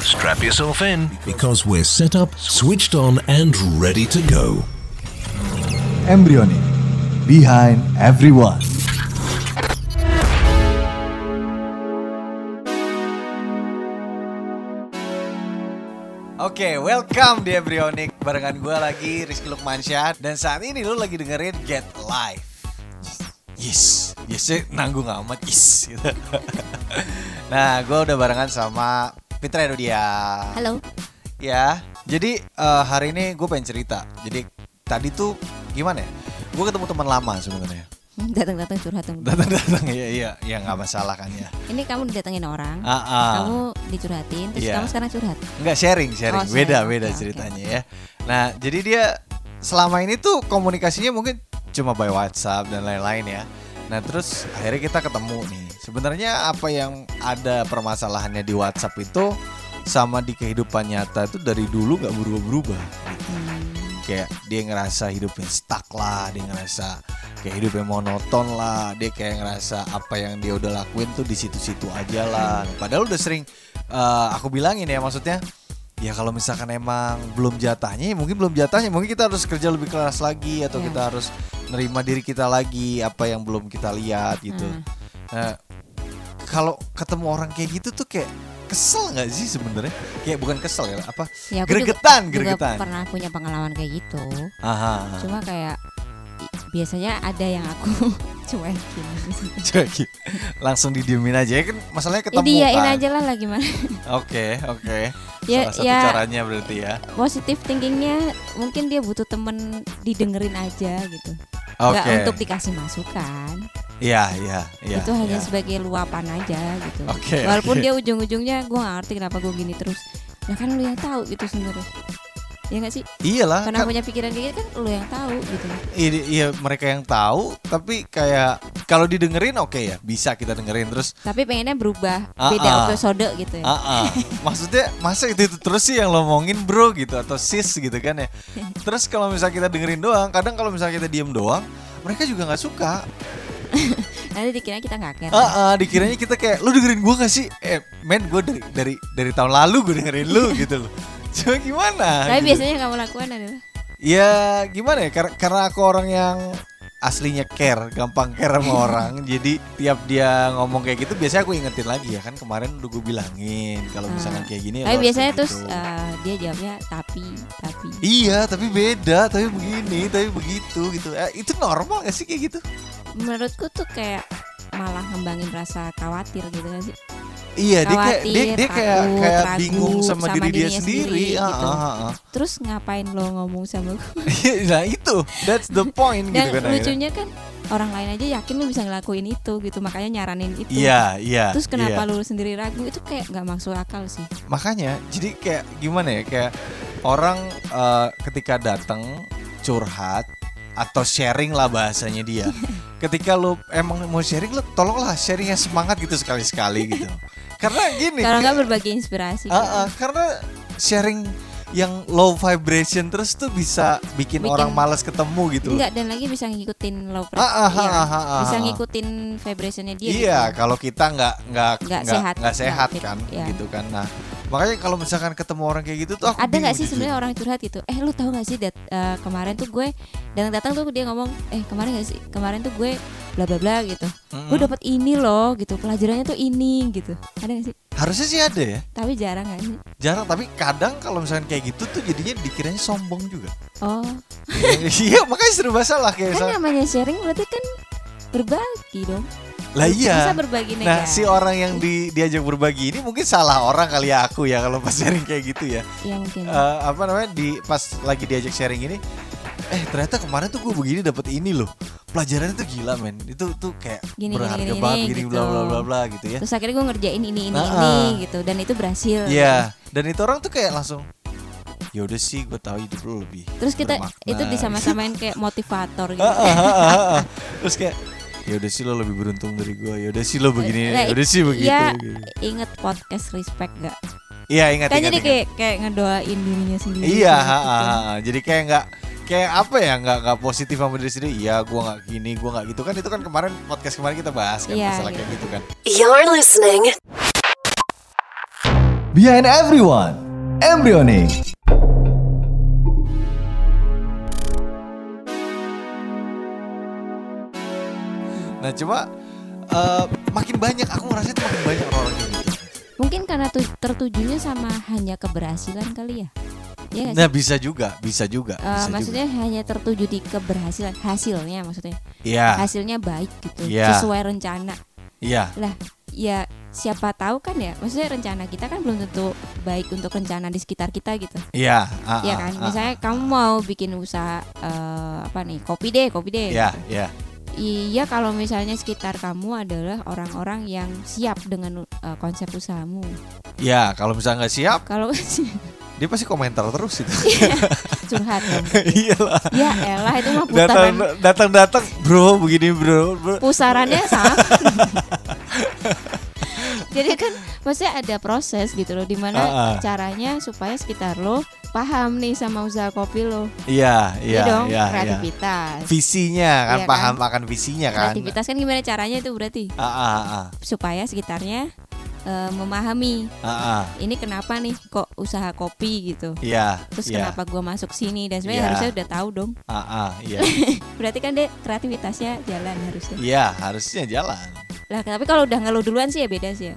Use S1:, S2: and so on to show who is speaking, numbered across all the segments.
S1: Strap yourself in because we're set up, switched on, and ready to go.
S2: Embryonic. Behind everyone.
S3: Oke, welcome di Embryonic barengan gue lagi Rizky Lukmansyah dan saat ini lu lagi dengerin Get Live. Yes, yes eh, nanggung amat yes. gitu. nah, gue udah barengan sama Fitra Edodia.
S4: Halo.
S3: Ya, jadi eh, hari ini gue pengen cerita. Jadi tadi tuh gimana ya? Gue ketemu teman lama sebenarnya.
S4: Hmm, Datang-datang curhat dong.
S3: Datang-datang ya, iya, ya nggak masalah kan ya.
S4: Ini kamu didatengin orang,
S3: Ah, ah.
S4: kamu dicurhatin, terus
S3: Iya.
S4: kamu sekarang curhat.
S3: Enggak sharing, sharing.
S4: Oh, sharing.
S3: Beda, beda
S4: Oke, oke.
S3: ceritanya ya. Nah, jadi dia selama ini tuh komunikasinya mungkin cuma by WhatsApp dan lain-lain ya. Nah, terus akhirnya kita ketemu nih. Sebenarnya apa yang ada permasalahannya di WhatsApp itu sama di kehidupan nyata itu dari dulu nggak berubah-berubah. Kayak dia ngerasa hidupnya stuck lah, dia ngerasa kayak hidupnya monoton lah, dia kayak ngerasa apa yang dia udah lakuin tuh di situ-situ aja lah. Padahal udah sering eh, aku bilangin ya maksudnya ya kalau misalkan emang belum jatahnya ya mungkin belum jatahnya mungkin kita harus kerja lebih keras lagi atau
S4: Ya.
S3: kita harus nerima diri kita lagi apa yang belum kita lihat gitu
S4: Hmm.
S3: Nah, kalau ketemu orang kayak gitu tuh kayak kesel nggak sih sebenarnya kayak bukan kesel ya apa
S4: Ya, aku juga-
S3: gregetan
S4: juga
S3: gregetan Ah.
S4: pernah punya pengalaman kayak gitu.
S3: aha
S4: Cuma kayak i- biasanya ada yang aku cuekin.
S3: jadi langsung didiemin aja ya kan masalahnya
S4: Ya
S3: ketemu
S4: diyain
S3: kan.
S4: aja lah lah gimana.
S3: oke oke
S4: Ya,
S3: salah satu
S4: ya.
S3: caranya berarti ya
S4: Positif thinkingnya mungkin dia butuh temen didengerin aja gitu.
S3: oke
S4: Nggak untuk dikasih masukan.
S3: iya iya iya
S4: itu hanya
S3: iya.
S4: sebagai luapan aja gitu.
S3: Oke,
S4: Walaupun
S3: oke.
S4: dia ujung-ujungnya gue gak ngerti kenapa gue gini terus. Nah kan lu yang tahu gitu sebenarnya. Ya gak sih?
S3: iyalah
S4: Karena
S3: kan-
S4: punya pikiran kayak gitu kan lu yang tahu gitu.
S3: Iya, iya, mereka yang tahu tapi kayak kalau didengerin oke ya bisa kita dengerin terus
S4: Tapi pengennya berubah
S3: Ah,
S4: beda
S3: ah.
S4: episode gitu ya.
S3: ah ah. maksudnya masa itu, itu terus sih yang lo omongin bro gitu atau sis gitu kan ya terus kalau misalnya kita dengerin doang kadang kalau misalnya kita diem doang mereka juga nggak suka
S4: Nanti dikira kita gak care.
S3: Ah, ah, dikiranya kita kayak lu dengerin gua gak sih eh men gue dari dari dari tahun lalu gue dengerin lu gitu loh cuma gimana
S4: Tapi
S3: gitu.
S4: biasanya yang kamu lakukan adalah
S3: Ya gimana ya kar- karena aku orang yang aslinya care, gampang care sama orang. Jadi tiap dia ngomong kayak gitu biasanya aku ingetin lagi ya kan kemarin udah gue bilangin kalau misalkan kayak gini. lo
S4: Ah. Tapi
S3: harus
S4: biasanya
S3: kayak
S4: terus
S3: Iya, gitu."
S4: eh, dia jawabnya tapi tapi.
S3: Iya, tapi beda, tapi begini, tapi begitu gitu. Eh, itu normal gak sih kayak gitu?
S4: Menurutku tuh kayak malah ngembangin rasa khawatir gitu kan sih.
S3: Iya, dia kayak dia,
S4: Khawatir,
S3: dia kayak
S4: takut,
S3: kayak
S4: ragu
S3: bingung sama,
S4: sama
S3: diri dia
S4: dirinya
S3: sendiri.
S4: sendiri,
S3: Ah,
S4: gitu.
S3: ah, ah, ah.
S4: Terus ngapain lo ngomong sama gue?
S3: nah, itu that's the point gitu
S4: Dan
S3: kan. akhirnya.
S4: lucunya kan orang lain aja yakin lu bisa ngelakuin itu gitu makanya nyaranin itu.
S3: Iya, iya.
S4: Terus
S3: iya.
S4: kenapa lu sendiri ragu itu kayak nggak masuk akal sih.
S3: makanya jadi kayak gimana ya kayak orang eh, ketika datang curhat atau sharing lah bahasanya dia ketika lo emang mau sharing lo tolonglah sharingnya semangat gitu sekali sekali gitu karena gini
S4: Kalau nggak
S3: kayak-
S4: berbagi inspirasi. gitu.
S3: Ah, ah, karena sharing yang low vibration terus tuh bisa bikin,
S4: Bikin-
S3: orang malas ketemu gitu
S4: Enggak dan lagi bisa ngikutin low pressure.
S3: Ah, ah,
S4: iya.
S3: ah, ah, ah,
S4: bisa
S3: ah.
S4: ngikutin vibrationnya dia.
S3: iya
S4: gitu.
S3: kalau kita nggak nggak
S4: Nggak sehat,
S3: nggak
S4: nggak
S3: sehat
S4: fit,
S3: kan
S4: iya.
S3: gitu kan nah makanya kalau misalkan ketemu orang kayak gitu tuh aku
S4: Ada nggak
S3: bingung
S4: sih
S3: jujur.
S4: sebenarnya orang curhat gitu? Eh lu tahu nggak sih dat- eh, kemarin tuh gue datang-datang tuh dia ngomong eh kemarin nggak sih kemarin tuh gue bla bla bla gitu.
S3: Mm-mm.
S4: Gue dapat ini loh gitu pelajarannya tuh ini gitu. Ada nggak sih?
S3: harusnya sih ada ya
S4: Tapi jarang nggak sih?
S3: jarang tapi kadang kalau misalnya kayak gitu tuh jadinya dikiranya sombong juga
S4: Oh
S3: iya makanya serba salah kayak
S4: kan
S3: misalnya-
S4: namanya sharing berarti kan berbagi dong.
S3: lah iya
S4: Bisa berbagi ya?
S3: nah
S4: negatif.
S3: si orang yang di, diajak berbagi ini mungkin salah orang kali ya aku ya kalau pas sharing kayak gitu ya
S4: Iya mungkin.
S3: Eh, apa namanya di pas lagi diajak sharing ini eh ternyata kemarin tuh gue begini dapat ini loh pelajarannya tuh gila men itu tuh kayak
S4: Gini, gini,
S3: berharga
S4: gini,
S3: banget
S4: gini,
S3: gini
S4: gitu.
S3: bla bla bla bla gitu ya
S4: Terus akhirnya gue ngerjain ini ini
S3: Nah,
S4: ini
S3: ah.
S4: gitu dan itu berhasil.
S3: iya dan itu orang tuh kayak langsung ya udah sih gue tahu hidup lu lebih
S4: Terus kita
S3: bermakna."
S4: itu disama-samain kayak motivator gitu.
S3: Ah, ah, ah, ah, ah. terus kayak ya udah sih lo lebih beruntung dari gue ya udah sih lo begini
S4: Nah,
S3: ya udah sih begitu
S4: Iya,
S3: gitu.
S4: inget podcast respect gak?
S3: iya ingat
S4: Kan
S3: ingat,
S4: jadi
S3: ingat.
S4: kayak kayak ngedoain dirinya sendiri.
S3: iya
S4: gitu.
S3: ah, ah, ah. jadi kayak nggak kayak apa ya nggak nggak positif sama diri sendiri iya gue nggak gini gue nggak gitu kan itu kan kemarin podcast kemarin kita bahas kan
S4: Iya,
S3: masalah
S4: iya.
S3: kayak gitu kan
S5: You're listening
S2: Behind everyone, embryonic.
S3: Nah cuma eh, makin banyak aku ngerasa itu makin banyak orang yang gitu.
S4: Mungkin karena tu- tertujunya sama hanya keberhasilan kali ya. Iya nggak sih?
S3: Nah bisa juga, bisa juga.
S4: Eh,
S3: bisa
S4: maksudnya hanya tertuju di keberhasilan hasilnya maksudnya
S3: juga. Iya,
S4: hasilnya baik gitu
S3: Iya.
S4: sesuai rencana
S3: iya,
S4: lah ya siapa tahu kan ya maksudnya rencana kita kan belum tentu baik untuk rencana di sekitar kita gitu
S3: iya. ah, ah,
S4: ya kan
S3: ah.
S4: misalnya kamu mau bikin usaha eh, apa nih kopi deh kopi deh
S3: Iya, iya.
S4: Iya kalau misalnya sekitar kamu adalah orang-orang yang siap dengan uh, konsep usahamu.
S3: Iya, kalau misalnya nggak siap,
S4: Kalau
S3: dia pasti komentar terus itu.
S4: Iya. curhat kan.
S3: Iyalah.
S4: ya elah itu mah
S3: Datang
S4: putaran
S3: datang datang, bro, begini bro. bro.
S4: pusarannya sama. Jadi kan maksudnya ada proses gitu loh dimana
S3: Ah, ah.
S4: caranya supaya sekitar lo paham nih sama usaha kopi lo.
S3: Iya, iya,
S4: Iya dong
S3: iya. iya.
S4: kreativitas.
S3: Visinya kan
S4: Iya kan?
S3: paham akan visinya kan.
S4: Kreativitas kan gimana caranya itu berarti
S3: Ah, ah, ah,
S4: supaya sekitarnya uh, memahami
S3: ah, ah.
S4: ini kenapa nih kok usaha kopi gitu.
S3: Iya.
S4: terus
S3: iya,
S4: kenapa gua masuk sini dan sebenarnya
S3: Iya.
S4: harusnya udah tahu dong
S3: Ah, ah, iya.
S4: berarti kan deh kreativitasnya jalan harusnya
S3: Iya, harusnya jalan.
S4: lah tapi kalau udah ngeluh duluan sih ya beda sih ya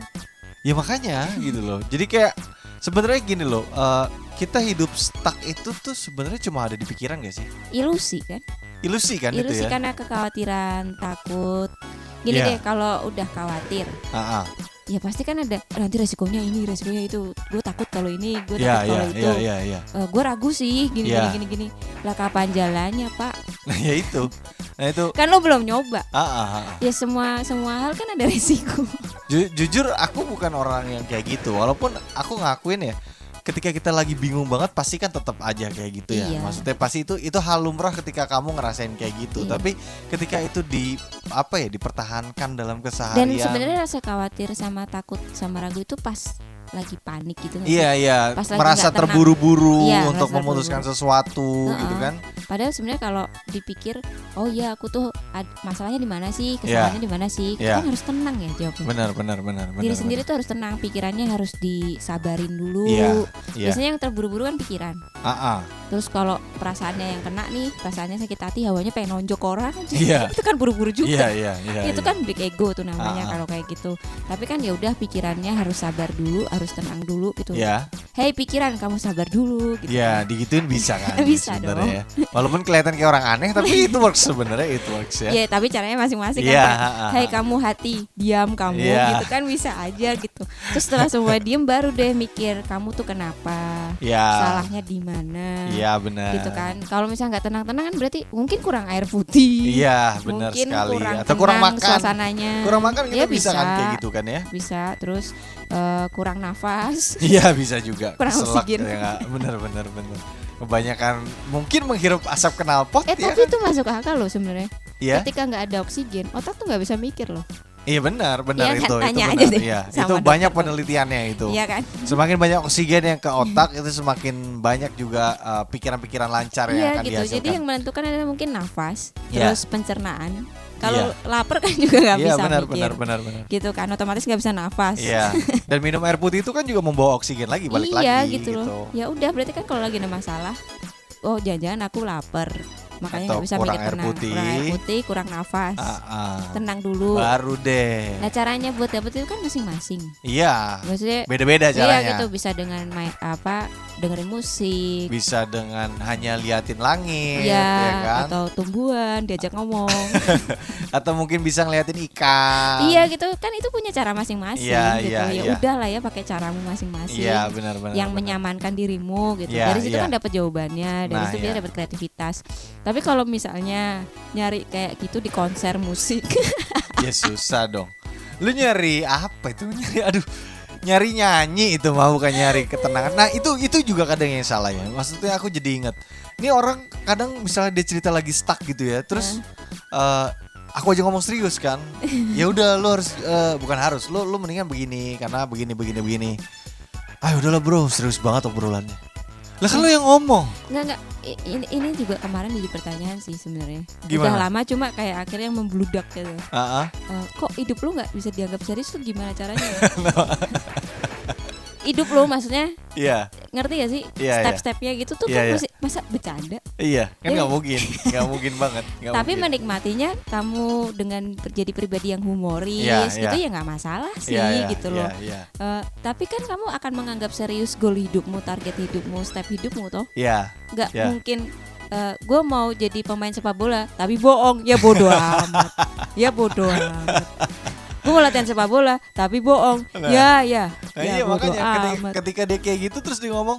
S3: Ya makanya gitu loh. Jadi kayak sebenarnya gini loh, eh, kita hidup stuck itu tuh sebenarnya cuma ada di pikiran gak sih?
S4: ilusi kan
S3: Ilusi kan
S4: ilusi
S3: itu ya.
S4: karena kekhawatiran takut gini
S3: Iya.
S4: deh kalau udah khawatir
S3: Ah, ah.
S4: ya pasti kan ada nanti resikonya ini resikonya itu gue takut kalau ini gue takut
S3: Iya, iya,
S4: kalau itu
S3: iya, iya, iya.
S4: gue ragu sih gini
S3: Iya.
S4: gini gini gini lah kapan jalannya pak
S3: Nah, ya itu. Nah, itu
S4: kan lo belum nyoba
S3: ah, ah, ah, ah.
S4: ya semua semua hal kan ada resiko
S3: Ju- jujur aku bukan orang yang kayak gitu walaupun aku ngakuin ya ketika kita lagi bingung banget pasti kan tetap aja kayak gitu ya
S4: Iya.
S3: maksudnya pasti itu itu hal lumrah ketika kamu ngerasain kayak gitu
S4: Iya.
S3: tapi ketika itu di apa ya dipertahankan dalam
S4: Dan
S3: keseharian
S4: sebenarnya rasa khawatir sama takut sama ragu itu pas lagi panik gitu nggak sih?
S3: iya iya
S4: Pas lagi
S3: merasa
S4: nggak tenang.
S3: terburu-buru
S4: Iya,
S3: untuk
S4: merasa
S3: memutuskan sesuatu
S4: Heeh.
S3: gitu kan
S4: Padahal sebenarnya kalau dipikir, oh iya aku tuh ad- masalahnya di mana sih, kesalahannya di mana sih? Kita
S3: Iya.
S4: kan harus tenang ya jawabnya.
S3: benar benar benar benar
S4: Diri
S3: benar.
S4: sendiri tuh harus tenang, pikirannya harus disabarin dulu.
S3: Iya, iya.
S4: Biasanya yang terburu-buru kan pikiran.
S3: Ah, ah.
S4: Terus kalau perasaannya yang kena nih, perasaannya sakit hati, hawanya pengen nonjok orang aja.
S3: Iya.
S4: itu kan buru-buru juga.
S3: iya iya iya iya.
S4: itu kan big ego tuh
S3: Ah, ah.
S4: namanya kalau kayak gitu. Tapi kan ya udah pikirannya harus sabar dulu, harus tenang dulu gitu.
S3: Iya,
S4: Hei pikiran kamu sabar dulu gitu.
S3: iya, digituin bisa kan?
S4: Bisa
S3: sebenarnya ya. Walakan kelihatan kayak orang aneh, tapi itu works sebenarnya itu works ya.
S4: Ya tapi caranya masing-masing
S3: Iya,
S4: kan.
S3: ha, ha,
S4: Hei
S3: ha.
S4: kamu hati, diam kamu
S3: Iya.
S4: gitu kan bisa aja gitu. Terus setelah semua diem baru deh mikir kamu tuh kenapa?
S3: Iya.
S4: Salahnya di mana?
S3: Iya benar.
S4: Gitu kan. Kalau misalnya nggak tenang-tenang kan berarti mungkin kurang air putih.
S3: Iya benar
S4: mungkin
S3: sekali.
S4: kurang
S3: Atau kurang
S4: tenang
S3: makan.
S4: suasananya.
S3: Kurang makan kita
S4: Ya,
S3: bisa, kan kayak gitu kan ya?
S4: Bisa. Terus eh, kurang nafas.
S3: Iya bisa juga.
S4: Kurang
S3: Keselak
S4: oksigen.
S3: ya nggak? Benar benar benar. Kebanyakan mungkin menghirup asap knalpot
S4: Eh
S3: ya kan?
S4: tapi itu masuk akal loh sebenarnya.
S3: Iya.
S4: Ketika nggak ada oksigen, otak tuh nggak bisa mikir loh.
S3: Iya benar benar
S4: Iya kan?
S3: itu itu
S4: Tanya aja
S3: benar.
S4: deh
S3: Iya,
S4: sama
S3: itu
S4: dokter.
S3: banyak penelitiannya itu.
S4: Iya kan?
S3: Semakin banyak oksigen yang ke otak itu semakin banyak juga eh, pikiran-pikiran lancar yang
S4: Iya
S3: akan
S4: gitu.
S3: dihasilkan.
S4: Jadi yang menentukan adalah mungkin nafas,
S3: Iya.
S4: terus pencernaan. Kalau
S3: Iya.
S4: lapar kan juga nggak
S3: Iya
S4: bisa
S3: benar
S4: mikir.
S3: benar benar benar.
S4: Gitu kan otomatis nggak bisa nafas.
S3: Iya. Dan minum air putih itu kan juga membawa oksigen lagi balik
S4: Iya,
S3: lagi
S4: gitu loh. Ya udah berarti kan kalau lagi ada masalah, oh jangan-jangan aku lapar.
S3: Atau
S4: Makanya nggak bisa
S3: kurang
S4: mikir
S3: air
S4: tenang.
S3: putih.
S4: Kurang air putih, kurang nafas.
S3: Ah, ah.
S4: Tenang dulu.
S3: Baru deh.
S4: Iya. Nah, caranya buat dapet itu kan masing-masing.
S3: Iya.
S4: Maksudnya
S3: Beda-beda
S4: Iya
S3: caranya.
S4: gitu bisa dengan main apa dengerin musik
S3: Bisa dengan hanya liatin langit,
S4: ya,
S3: ya kan? Atau,
S4: atau tumbuhan diajak ngomong
S3: mungkin bisa ngeliatin ikan.
S4: iya gitu kan itu punya cara masing-masing
S3: Iya,
S4: gitu
S3: iya,
S4: ya
S3: iya.
S4: udah lah ya pakai caramu masing-masing
S3: Iya, benar-benar.
S4: gitu yang
S3: benar.
S4: menyamankan dirimu gitu
S3: Iya,
S4: dari situ
S3: iya.
S4: kan dapat jawabannya dari
S3: Nah,
S4: situ
S3: iya.
S4: dia dapat kreativitas tapi kalau misalnya nyari kayak gitu di konser musik
S3: Ya susah dong. Lu nyari apa itu? Nyari aduh. Nyari nyanyi itu mah bukan nyari ketenangan. Nah, itu itu juga kadang yang salah ya. Maksudnya aku jadi inget Ini orang kadang misalnya dia cerita lagi stuck gitu ya. Terus eh,
S4: Hmm.
S3: aku aja ngomong serius kan. Ya udah lu harus eh, bukan harus. Lu lu mendingan begini karena begini begini begini. Ayo udahlah bro, serius banget obrolannya. Lah kan lu yang ngomong.
S4: nggak nggak I- ini, ini juga kemarin jadi pertanyaan sih sebenarnya udah
S3: Gimana?
S4: lama cuma kayak akhirnya membludak gitu
S3: Heeh.
S4: Eh, kok hidup lu nggak bisa dianggap serius tuh gimana caranya hidup lo maksudnya
S3: Iya,
S4: ngerti gak sih
S3: Iya, iya.
S4: step-stepnya gitu tuh
S3: Iya,
S4: kan
S3: iya.
S4: masih- masa bercanda
S3: iya, kan
S4: Iya.
S3: nggak mungkin, nggak mungkin banget. nggak
S4: tapi
S3: mungkin.
S4: menikmatinya kamu dengan jadi pribadi yang humoris
S3: Iya,
S4: gitu
S3: iya.
S4: ya nggak masalah sih
S3: Iya, iya,
S4: gitu
S3: iya,
S4: loh
S3: Iya,
S4: Eh, tapi kan kamu akan menganggap serius goal hidupmu target hidupmu step hidupmu toh
S3: iya,
S4: nggak
S3: Ya.
S4: mungkin gue mau jadi pemain sepak bola tapi bohong ya bodoh amat ya bodoh amat gue mau latihan sepak bola tapi bohong ya ya
S3: Nah,
S4: ya
S3: iya
S4: bodoh
S3: makanya ketika,
S4: amat
S3: ketika dia kayak gitu terus dia ngomong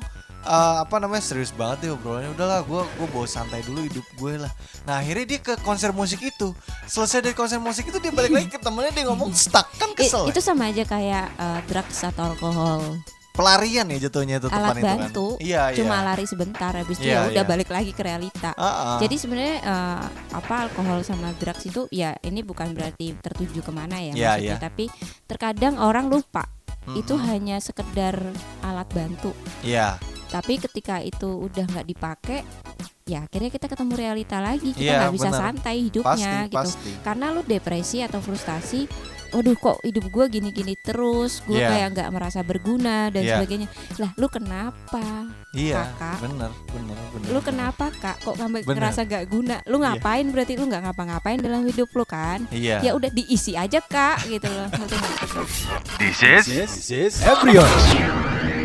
S3: "Eh, apa namanya serius banget ya obrolannya udahlah gue gue bawa santai dulu hidup gue lah nah akhirnya dia ke konser musik itu selesai dari konser musik itu dia balik lagi ke temennya dia ngomong stuck kan
S4: I-
S3: kesel
S4: itu sama aja kayak eh, drugs atau alkohol
S3: pelarian ya jatuhnya itu tempat
S4: alat
S3: itu kan
S4: bantu
S3: iya iya
S4: cuma lari sebentar habis itu
S3: Iya,
S4: ya udah
S3: iya.
S4: balik lagi ke realita
S3: Ah, ah.
S4: Jadi sebenarnya eh, apa alkohol sama drugs itu ya ini bukan berarti tertuju kemana ya
S3: Iya,
S4: maksudnya,
S3: iya.
S4: tapi terkadang orang lupa itu
S3: Mm-mm.
S4: hanya sekedar alat bantu.
S3: iya
S4: Tapi ketika itu udah nggak dipakai, ya akhirnya kita ketemu realita lagi. Kita
S3: Iya,
S4: nggak bisa
S3: benar.
S4: santai
S3: pasti
S4: hidupnya gitu.
S3: pasti
S4: Karena lu depresi atau frustasi, waduh kok hidup gue gini-gini terus, gue
S3: Iya.
S4: kayak nggak merasa berguna dan
S3: Iya.
S4: sebagainya. Lah lu kenapa?
S3: iya
S4: Kakak.
S3: bener bener bener
S4: lu kenapa kak kok kamu
S3: Bener.
S4: ngerasa gak guna
S3: Iya.
S4: lu ngapain berarti lu nggak ngapa-ngapain dalam hidup lu kan
S3: iya
S4: ya udah diisi aja kak gitu loh Ngerti nggak?
S2: Everyone.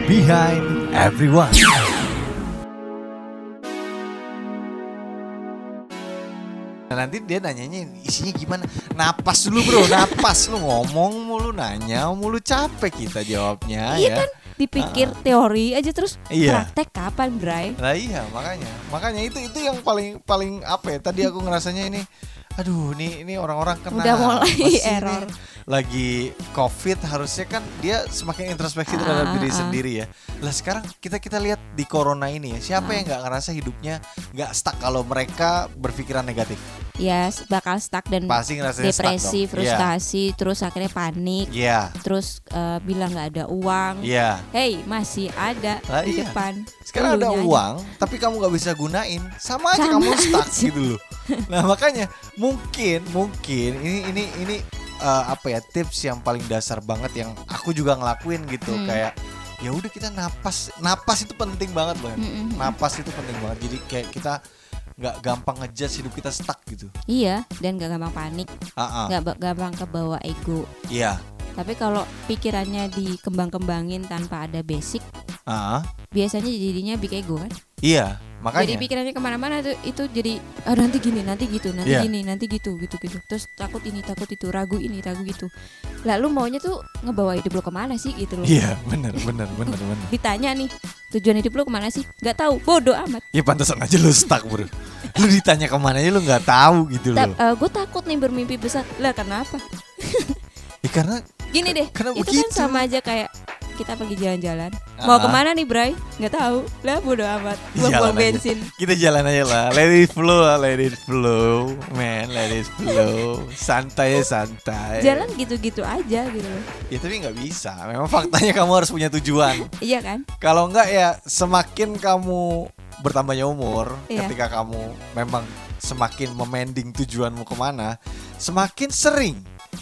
S2: Behind everyone.
S3: Nah, nanti dia nanyanya isinya gimana? Napas dulu bro, napas lu ngomong mulu nanya mulu capek kita jawabnya
S4: Iya
S3: ya.
S4: kan? dipikir teori aja terus
S3: Iya.
S4: praktek kapan Bray
S3: Nah iya makanya, makanya itu itu yang paling paling apa ya? Tadi aku ngerasanya ini, aduh ini ini orang-orang kena
S4: Udah mulai
S3: apa sih ini?
S4: error.
S3: Lagi covid harusnya kan dia semakin introspeksi terhadap
S4: Ah,
S3: diri
S4: ah.
S3: sendiri ya. Lah sekarang kita kita lihat di corona ini ya,
S4: Ah.
S3: siapa yang nggak ngerasa hidupnya nggak stuck kalau mereka berpikiran negatif?
S4: ya bakal stuck dan
S3: Pasti ngerasanya stuck dong.
S4: depresi
S3: Iya.
S4: frustasi terus akhirnya panik
S3: Iya,
S4: terus eh, bilang nggak ada uang
S3: iya.
S4: Hey masih ada
S3: Lah,
S4: di
S3: iya.
S4: depan
S3: Sekarang ada
S4: Elunya aja.
S3: uang, tapi kamu nggak bisa gunain, sama aja kamu
S4: Sama
S3: stuck
S4: aja.
S3: gitu loh. Nah makanya mungkin mungkin ini ini ini eh, apa ya tips yang paling dasar banget yang aku juga ngelakuin gitu
S4: Hmm.
S3: kayak ya udah kita napas napas itu penting banget loh.
S4: Mm, mm, mm.
S3: Napas itu penting banget. Jadi kayak kita nggak gampang ngejudge hidup kita stuck gitu.
S4: iya dan gak gampang panik
S3: Ah ah,
S4: nggak ba- gampang kebawa ego
S3: iya.
S4: Tapi kalau pikirannya dikembang-kembangin tanpa ada basic,
S3: Ah, ah,
S4: biasanya jadinya big ego kan.
S3: iya. Makanya.
S4: Jadi pikirannya kemana-mana itu, itu jadi "Ah, nanti gini, nanti gitu, nanti
S3: Iya.
S4: gini, nanti gitu, gitu gitu. Terus takut ini, takut itu, ragu ini, ragu gitu. Lalu maunya tuh ngebawa hidup lo kemana sih gitu loh.
S3: Iya, bener bener bener bener.
S4: Ditanya nih tujuan hidup lo kemana sih? Gak tahu, bodoh amat.
S3: Ya pantesan aja lu stuck bro. Lu ditanya kemana aja lu nggak tahu gitu loh.
S4: gue eh, takut nih bermimpi besar. Lah kenapa?
S3: Ya, karena
S4: Gini deh,
S3: Kenapa
S4: itu
S3: begitu?
S4: kan sama aja kayak kita pergi jalan-jalan. Mau
S3: Ah.
S4: kemana nih, Bray? Gak tahu. Lah bodoh amat.
S3: Jalan
S4: Buang-buang
S3: aja.
S4: bensin.
S3: kita jalan aja lah let it flow lah let it flow man let it flow santai ya, santai
S4: jalan gitu-gitu aja gitu loh.
S3: ya tapi nggak bisa memang faktanya kamu harus punya tujuan
S4: Iya kan?
S3: kalau nggak ya semakin kamu bertambahnya umur
S4: Iya.
S3: ketika kamu memang semakin memending tujuanmu kemana semakin sering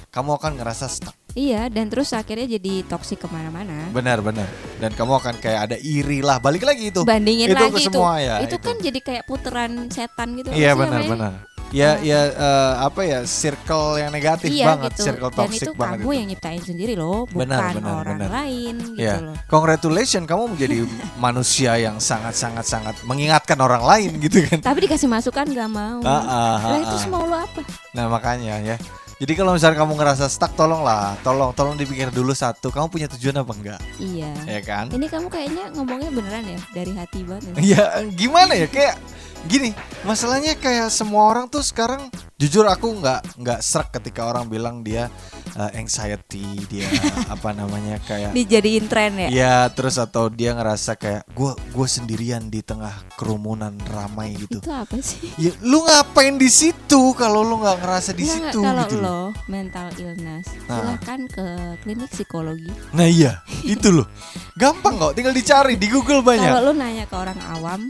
S3: kamu akan ngerasa stuck
S4: Iya dan terus akhirnya jadi toksik kemana-mana.
S3: benar-benar dan kamu akan kayak ada iri lah balik lagi itu
S4: Bandingin
S3: itu
S4: lagi
S3: ke
S4: itu,
S3: semua ya
S4: itu, kan jadi kayak puteran setan gitu.
S3: Iya
S4: Apa sih namanya? Nah.
S3: benar-benar. Ya ya eh, apa ya circle yang negatif
S4: Iya
S3: banget,
S4: gitu.
S3: circle
S4: dan
S3: toxic
S4: itu
S3: banget.
S4: kamu yang nyiptain sendiri loh, bukan
S3: Benar, benar,
S4: orang
S3: benar.
S4: lain
S3: ya.
S4: gitu loh.
S3: Congratulations kamu menjadi manusia yang sangat-sangat sangat mengingatkan orang lain gitu kan.
S4: Tapi dikasih masukan gak mau.
S3: Ah, ah, ah,
S4: Lah itu
S3: ah.
S4: semau lo apa?
S3: Nah, makanya ya. Jadi kalau misalnya kamu ngerasa stuck tolonglah, tolong tolong dipikir dulu satu, kamu punya tujuan apa enggak?
S4: Iya.
S3: Ya kan?
S4: Ini kamu kayaknya ngomongnya beneran ya dari hati banget. ya?
S3: Ya gimana ya kayak gini masalahnya kayak semua orang tuh sekarang jujur aku nggak nggak serak ketika orang bilang dia uh, anxiety dia apa namanya kayak
S4: Dijadiin tren ya.
S3: ya terus atau dia ngerasa kayak gua gue sendirian di tengah kerumunan ramai gitu
S4: Itu apa sih?
S3: ya lu ngapain di situ kalau lu nggak ngerasa di
S4: Nggak,
S3: situ
S4: kalau
S3: gitu
S4: lo mental illness,
S3: Ah.
S4: silahkan ke klinik psikologi.
S3: nah iya itu loh gampang kok tinggal dicari di Google banyak
S4: Kalau lu nanya ke orang awam,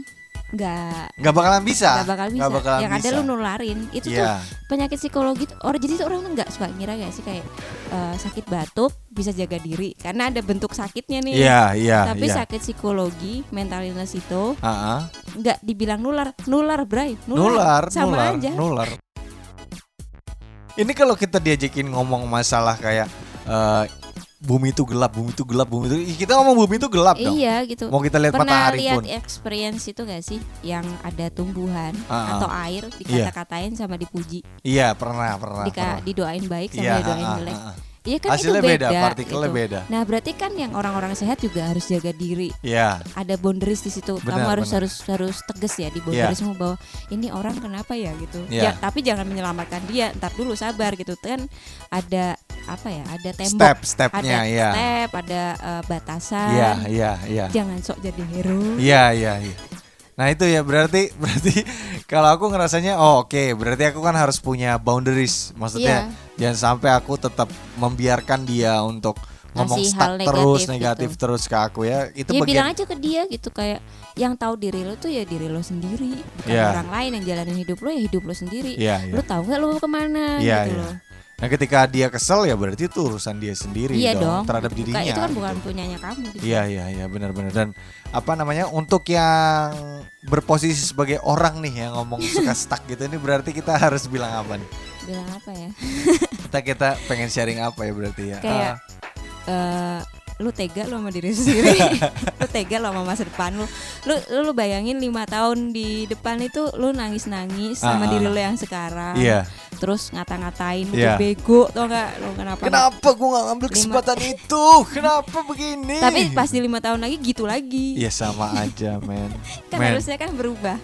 S4: nggak
S3: nggak bakalan bisa
S4: nggak bakal bisa.
S3: Nggak bakalan
S4: yang ada
S3: bisa.
S4: lu nularin. Itu
S3: Iya.
S4: tuh penyakit psikologi. tuh- Orang jadi tuh orang tuh nggak suka ngira gak sih kayak eh, sakit batuk bisa jaga diri karena ada bentuk sakitnya nih.
S3: iya iya
S4: Tapi
S3: iya.
S4: sakit psikologi, mental illness itu
S3: Ah, ah.
S4: nggak dibilang nular, nular bray,
S3: nular,
S4: nular, sama
S3: nular,
S4: aja.
S3: nular. Ini kalau kita diajakin ngomong masalah kayak eh, bumi itu gelap, bumi itu gelap, bumi itu Ih, kita ngomong bumi itu gelap dong.
S4: Iya gitu.
S3: Mau kita lihat
S4: Pernah
S3: matahari
S4: lihat
S3: pun.
S4: experience itu gak sih yang ada tumbuhan
S3: Ah, ah.
S4: atau air dikata-katain sama dipuji,
S3: Iya, pernah, pernah.
S4: dika
S3: pernah.
S4: didoain baik sama
S3: Iya,
S4: didoain
S3: ah, ah,
S4: jelek.
S3: ah, ah.
S4: Iya kan
S3: Hasilnya
S4: itu
S3: beda,
S4: beda.
S3: partikelnya
S4: gitu.
S3: beda.
S4: Nah berarti kan yang orang-orang sehat juga harus jaga diri.
S3: Iya,
S4: Ada boundaries di situ. Kamu
S3: Benar,
S4: harus
S3: benar.
S4: harus harus tegas ya di boundariesmu bahwa ini orang kenapa ya gitu.
S3: Iya.
S4: Ya, tapi jangan menyelamatkan dia. Ntar dulu sabar gitu kan. Ada apa ya? Ada tembok.
S3: step-stepnya,
S4: ada
S3: iya.
S4: step, ada eh, batasan.
S3: Iya, iya, iya.
S4: Jangan sok jadi hero.
S3: Iya, iya, iya. Nah itu ya berarti berarti kalau aku ngerasanya oh oke berarti aku kan harus punya boundaries
S4: Iya.
S3: maksudnya jangan sampai aku tetap membiarkan dia untuk ngomong
S4: Ngasih
S3: stuck
S4: hal negatif
S3: terus
S4: gitu.
S3: negatif terus ke aku ya itu
S4: ya
S3: bagian
S4: bilang aja ke dia gitu kayak yang tahu diri lo tuh ya diri lo sendiri bukan
S3: Iya.
S4: orang lain yang jalanin hidup lo ya hidup lo sendiri.
S3: Iya, iya.
S4: Lo tahu nggak lo mau kemana
S3: Iya,
S4: gitu
S3: iya.
S4: loh.
S3: nah ketika dia kesel ya berarti itu urusan dia sendiri
S4: Iya
S3: dong,
S4: dong.
S3: terhadap
S4: Bukan-
S3: dirinya
S4: Itu kan bukan
S3: gitu.
S4: punyanya kamu. gitu.
S3: Iya iya iya benar-benar dan apa namanya untuk yang berposisi sebagai orang nih yang ngomong suka stuck gitu ini berarti kita harus bilang apa nih
S4: Bilang apa ya?
S3: kita kita pengen sharing apa ya berarti ya
S4: Kayak
S3: Ah.
S4: eh, lu tega lu sama diri sendiri. lu tega lu sama masa depan lu. Lu lu, lu bayangin lima tahun di depan itu lu nangis-nangis sama
S3: Ah,
S4: diri
S3: ah.
S4: lu yang sekarang.
S3: Iya.
S4: Terus ngata-ngatain lu
S3: Iya.
S4: tuh bego tau gak lu kenapa?
S3: Kenapa gue gak ngambil
S4: Lima-
S3: kesempatan itu? Kenapa begini?
S4: Tapi pas di lima tahun lagi gitu lagi.
S3: Ya sama aja men
S4: Kan
S3: Men.
S4: harusnya kan berubah.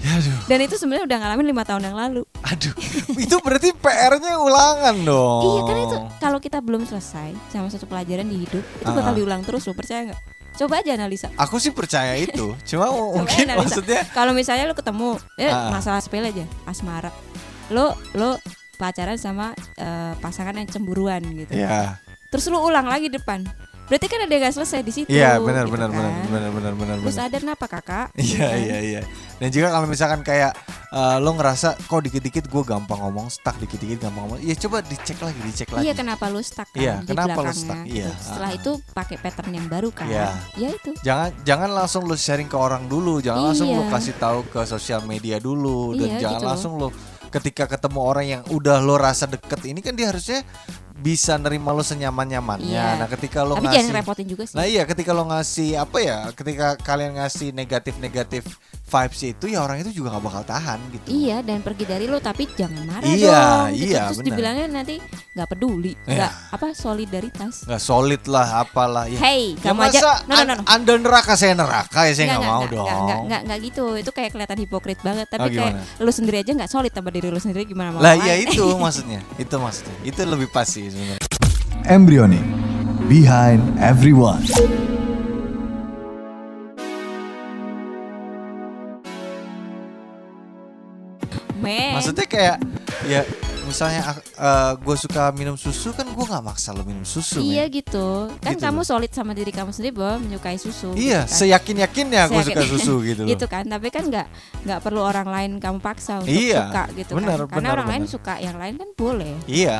S3: Ya, Aduh
S4: Dan itu sebenarnya udah ngalamin lima tahun yang lalu.
S3: Aduh Itu berarti PR-nya ulangan dong
S4: Iya kan
S3: Oh.
S4: itu kalau kita belum selesai sama satu pelajaran di hidup itu bakal
S3: Ah.
S4: diulang terus lo percaya nggak? Coba aja analisa.
S3: Aku sih percaya itu Cuma
S4: Coba
S3: mungkin
S4: analisa.
S3: maksudnya
S4: kalau misalnya lu ketemu eh,
S3: Ah.
S4: masalah sepele aja asmara lo lo pacaran sama eh, pasangan yang cemburuan gitu
S3: Iya
S4: terus lu ulang lagi depan berarti kan ada yang gak selesai di situ
S3: Iya benar
S4: gitu
S3: benar
S4: kan.
S3: benar benar benar benar
S4: lu
S3: benar.
S4: sadar kenapa kakak Gitu kan.
S3: Iya iya iya Dan juga kalau misalkan kayak eh, Lo ngerasa kok dikit-dikit gue gampang ngomong Stuck dikit-dikit gampang ngomong Ya coba dicek lagi dicek lagi
S4: Iya kenapa lu stuck kan
S3: Iya,
S4: di
S3: kenapa lu
S4: belakangnya
S3: stuck?
S4: gitu.
S3: Iya.
S4: Setelah
S3: Ah.
S4: itu pakai pattern yang baru kan
S3: Iya.
S4: Ya itu
S3: jangan jangan langsung lu sharing ke orang dulu jangan langsung lu
S4: Iya.
S3: kasih tahu ke sosial media dulu dan
S4: Iya,
S3: jangan
S4: gitu loh.
S3: langsung lu ketika ketemu orang yang udah lo rasa deket ini kan dia harusnya bisa nerima lo senyaman nyamannya
S4: Iya.
S3: nah ketika lo
S4: Tapi
S3: ngasih
S4: jangan repotin juga sih
S3: nah iya ketika lo ngasih apa ya ketika kalian ngasih negatif negatif vibes itu ya orang itu juga nggak bakal tahan gitu
S4: Iya dan pergi dari lo tapi jangan marah
S3: Iya,
S4: dong. gitu.
S3: iya,
S4: Terus
S3: benar.
S4: dibilangnya nanti nggak peduli,
S3: Iya.
S4: nggak apa solidaritas.
S3: nggak solid lah apalah ya,
S4: Hey,
S3: ya
S4: kamu aja.
S3: masa
S4: No, no, no,
S3: an-
S4: no.
S3: anda neraka saya neraka ya saya
S4: Nggak,
S3: nggak
S4: nggak,
S3: mau
S4: nggak,
S3: dong
S4: nggak, nggak, nggak, nggak gitu. Itu kayak kelihatan hipokrit banget. Tapi
S3: Oh,
S4: kayak
S3: gimana?
S4: lu sendiri aja nggak solid sama diri lu sendiri gimana mau Eh,
S3: lah ya itu maksudnya itu maksudnya itu lebih pas sih sebenarnya
S2: Embryonic. Behind everyone.
S4: Men.
S3: Maksudnya kayak ya misalnya gue suka minum susu kan gue nggak maksa lo minum susu.
S4: Iya
S3: men.
S4: gitu. Kan
S3: Gitu
S4: kamu
S3: loh.
S4: solid sama diri kamu sendiri bahwa menyukai susu.
S3: Iya,
S4: gitu kan.
S3: seyakin yakinnya gue
S4: Saya
S3: suka
S4: yakin-
S3: susu gitu loh.
S4: gitu kan tapi kan nggak nggak perlu orang lain kamu paksa untuk
S3: Iya,
S4: suka gitu
S3: benar,
S4: kan karena
S3: benar,
S4: orang lain
S3: benar.
S4: suka yang lain kan boleh
S3: Iya,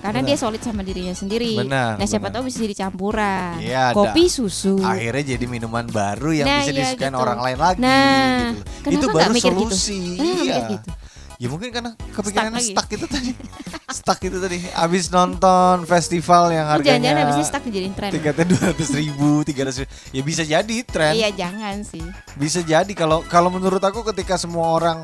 S4: karena
S3: Benar.
S4: dia solid sama dirinya sendiri
S3: Benar,
S4: nah siapa
S3: benar.
S4: tahu bisa jadi campuran
S3: Iya, ada.
S4: kopi susu
S3: akhirnya jadi minuman baru yang
S4: Nah,
S3: bisa
S4: iya
S3: disukain
S4: gitu.
S3: orang lain lagi.
S4: Nah,
S3: gitu loh.
S4: kenapa
S3: itu
S4: nggak
S3: baru
S4: mikir gitu?
S3: solusi.
S4: Kenapa nggak
S3: Iya.
S4: mikir gitu?
S3: Ya mungkin karena kepikiran
S4: lagi.
S3: stuck, itu tadi. stuck itu tadi. Abis nonton festival yang
S4: Lu
S3: harganya.
S4: Oh, jangan-jangan habisnya stuck dijadiin tren
S3: Tiketnya dua ratus ribu, tiga ribu. Ya bisa jadi tren.
S4: iya jangan sih
S3: bisa jadi kalau kalau menurut aku ketika semua orang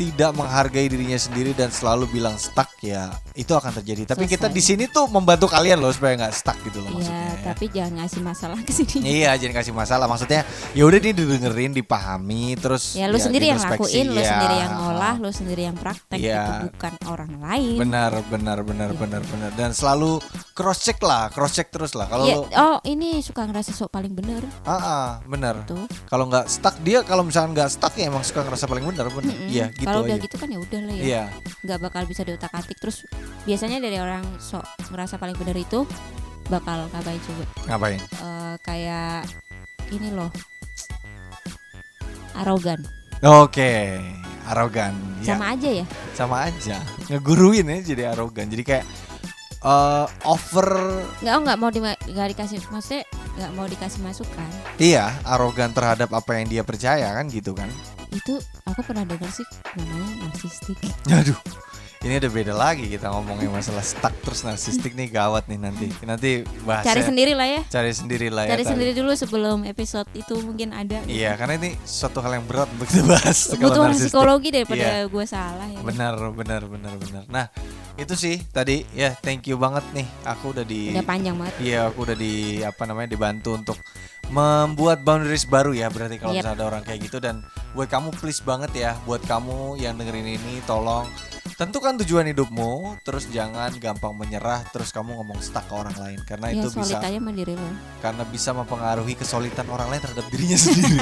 S3: tidak menghargai dirinya sendiri dan selalu bilang stuck ya itu akan terjadi tapi kita
S4: Selesai.
S3: di sini tuh membantu kalian loh supaya nggak stuck gitu loh
S4: iya
S3: maksudnya ya.
S4: tapi jangan ngasih masalah ke sini
S3: Iya, jangan kasih masalah. Maksudnya, ya udah ini didengerin, dipahami, terus
S4: ya lu sendiri yang
S3: diintrospeksi.
S4: lakuin lu
S3: Iya.
S4: sendiri yang ngolah lu sendiri yang praktek
S3: Iya.
S4: itu bukan orang lain
S3: Benar, benar, benar,
S4: Iya.
S3: benar, benar. Dan selalu cross check lah, cross check terus lah. Kalau
S4: Ya,
S3: lu,
S4: oh ini suka ngerasa sok paling bener
S3: ah, ah, benar.
S4: tuh
S3: Kalau nggak stuck dia, kalau misalkan nggak stuck ya emang suka ngerasa paling benar, benar.
S4: Mm-mm.
S3: Iya, gitu
S4: kalau
S3: aja.
S4: udah gitu kan ya udah lah ya
S3: Iya,
S4: nggak bakal bisa diotak atik terus biasanya dari orang sok ngerasa paling benar itu bakal ngapain coba
S3: ngapain?
S4: Eh, kayak ini loh arogan
S3: Oke, arogan. Ya,
S4: Sama aja ya.
S3: sama aja. Ngeguruin ya jadi arogan. Jadi kayak eh, over
S4: Enggak, enggak mau di, oh, nggak dikasih maksudnya enggak mau dikasih masukan.
S3: iya, arogan terhadap apa yang dia percaya kan gitu kan.
S4: Itu aku pernah dengar sih namanya narsistik.
S3: Aduh. Ini ada beda lagi kita ngomongin masalah stuck terus narsistik nih gawat nih nanti. Nanti bahas
S4: Cari sendiri lah ya.
S3: Cari sendiri lah ya.
S4: Cari
S3: tapi-
S4: sendiri dulu sebelum episode itu mungkin ada.
S3: Iya, karena ini suatu hal yang berat untuk dibahas. kalau
S4: Butuh orang
S3: narsistik.
S4: psikologi daripada
S3: Iya.
S4: gue salah ya.
S3: Benar, benar, benar, benar. Nah, itu sih tadi ya thank you banget nih. Aku udah di
S4: Udah panjang banget.
S3: Iya, aku udah di apa namanya dibantu untuk membuat boundaries baru ya berarti kalau
S4: Yep.
S3: misalnya ada orang kayak gitu dan buat kamu please banget ya buat kamu yang dengerin ini tolong tentukan tujuan hidupmu terus jangan gampang menyerah terus kamu ngomong stuck ke orang lain karena
S4: ya
S3: Nah, itu
S4: solid
S3: bisa
S4: aja mandiri lo.
S3: karena bisa mempengaruhi kesulitan orang lain terhadap dirinya sendiri.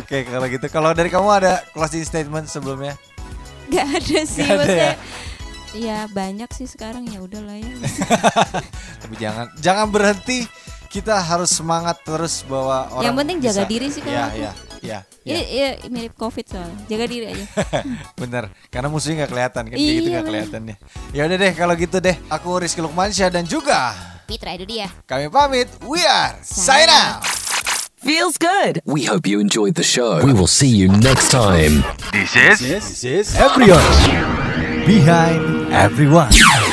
S3: Oke, kalau gitu kalau dari kamu ada closing statement sebelumnya?
S4: Gak ada sih
S3: Nggak ada
S4: maksudnya.
S3: ya?
S4: Ya banyak sih sekarang ya udah lah ya.
S3: Tapi jangan jangan berhenti. Kita harus semangat terus bahwa orang
S4: Yang penting jaga
S3: bisa-
S4: diri sih kalau
S3: Iya,
S4: aku.
S3: iya, iya.
S4: Ini
S3: iya.
S4: ya, mirip covid soalnya. Jaga diri aja.
S3: Bener, karena musuhnya nggak kelihatan kan kayak
S4: Iya,
S3: gitu nggak
S4: bener.
S3: kelihatan ya. Ya udah deh kalau gitu deh. Aku Rizky Lukmansyah dan juga
S4: Fitra itu dia.
S3: kami pamit. We are sign
S4: Sign
S3: out.
S5: Feels good.
S6: We hope you enjoyed the show. We will see you next time.
S2: Everyone. Behind everyone.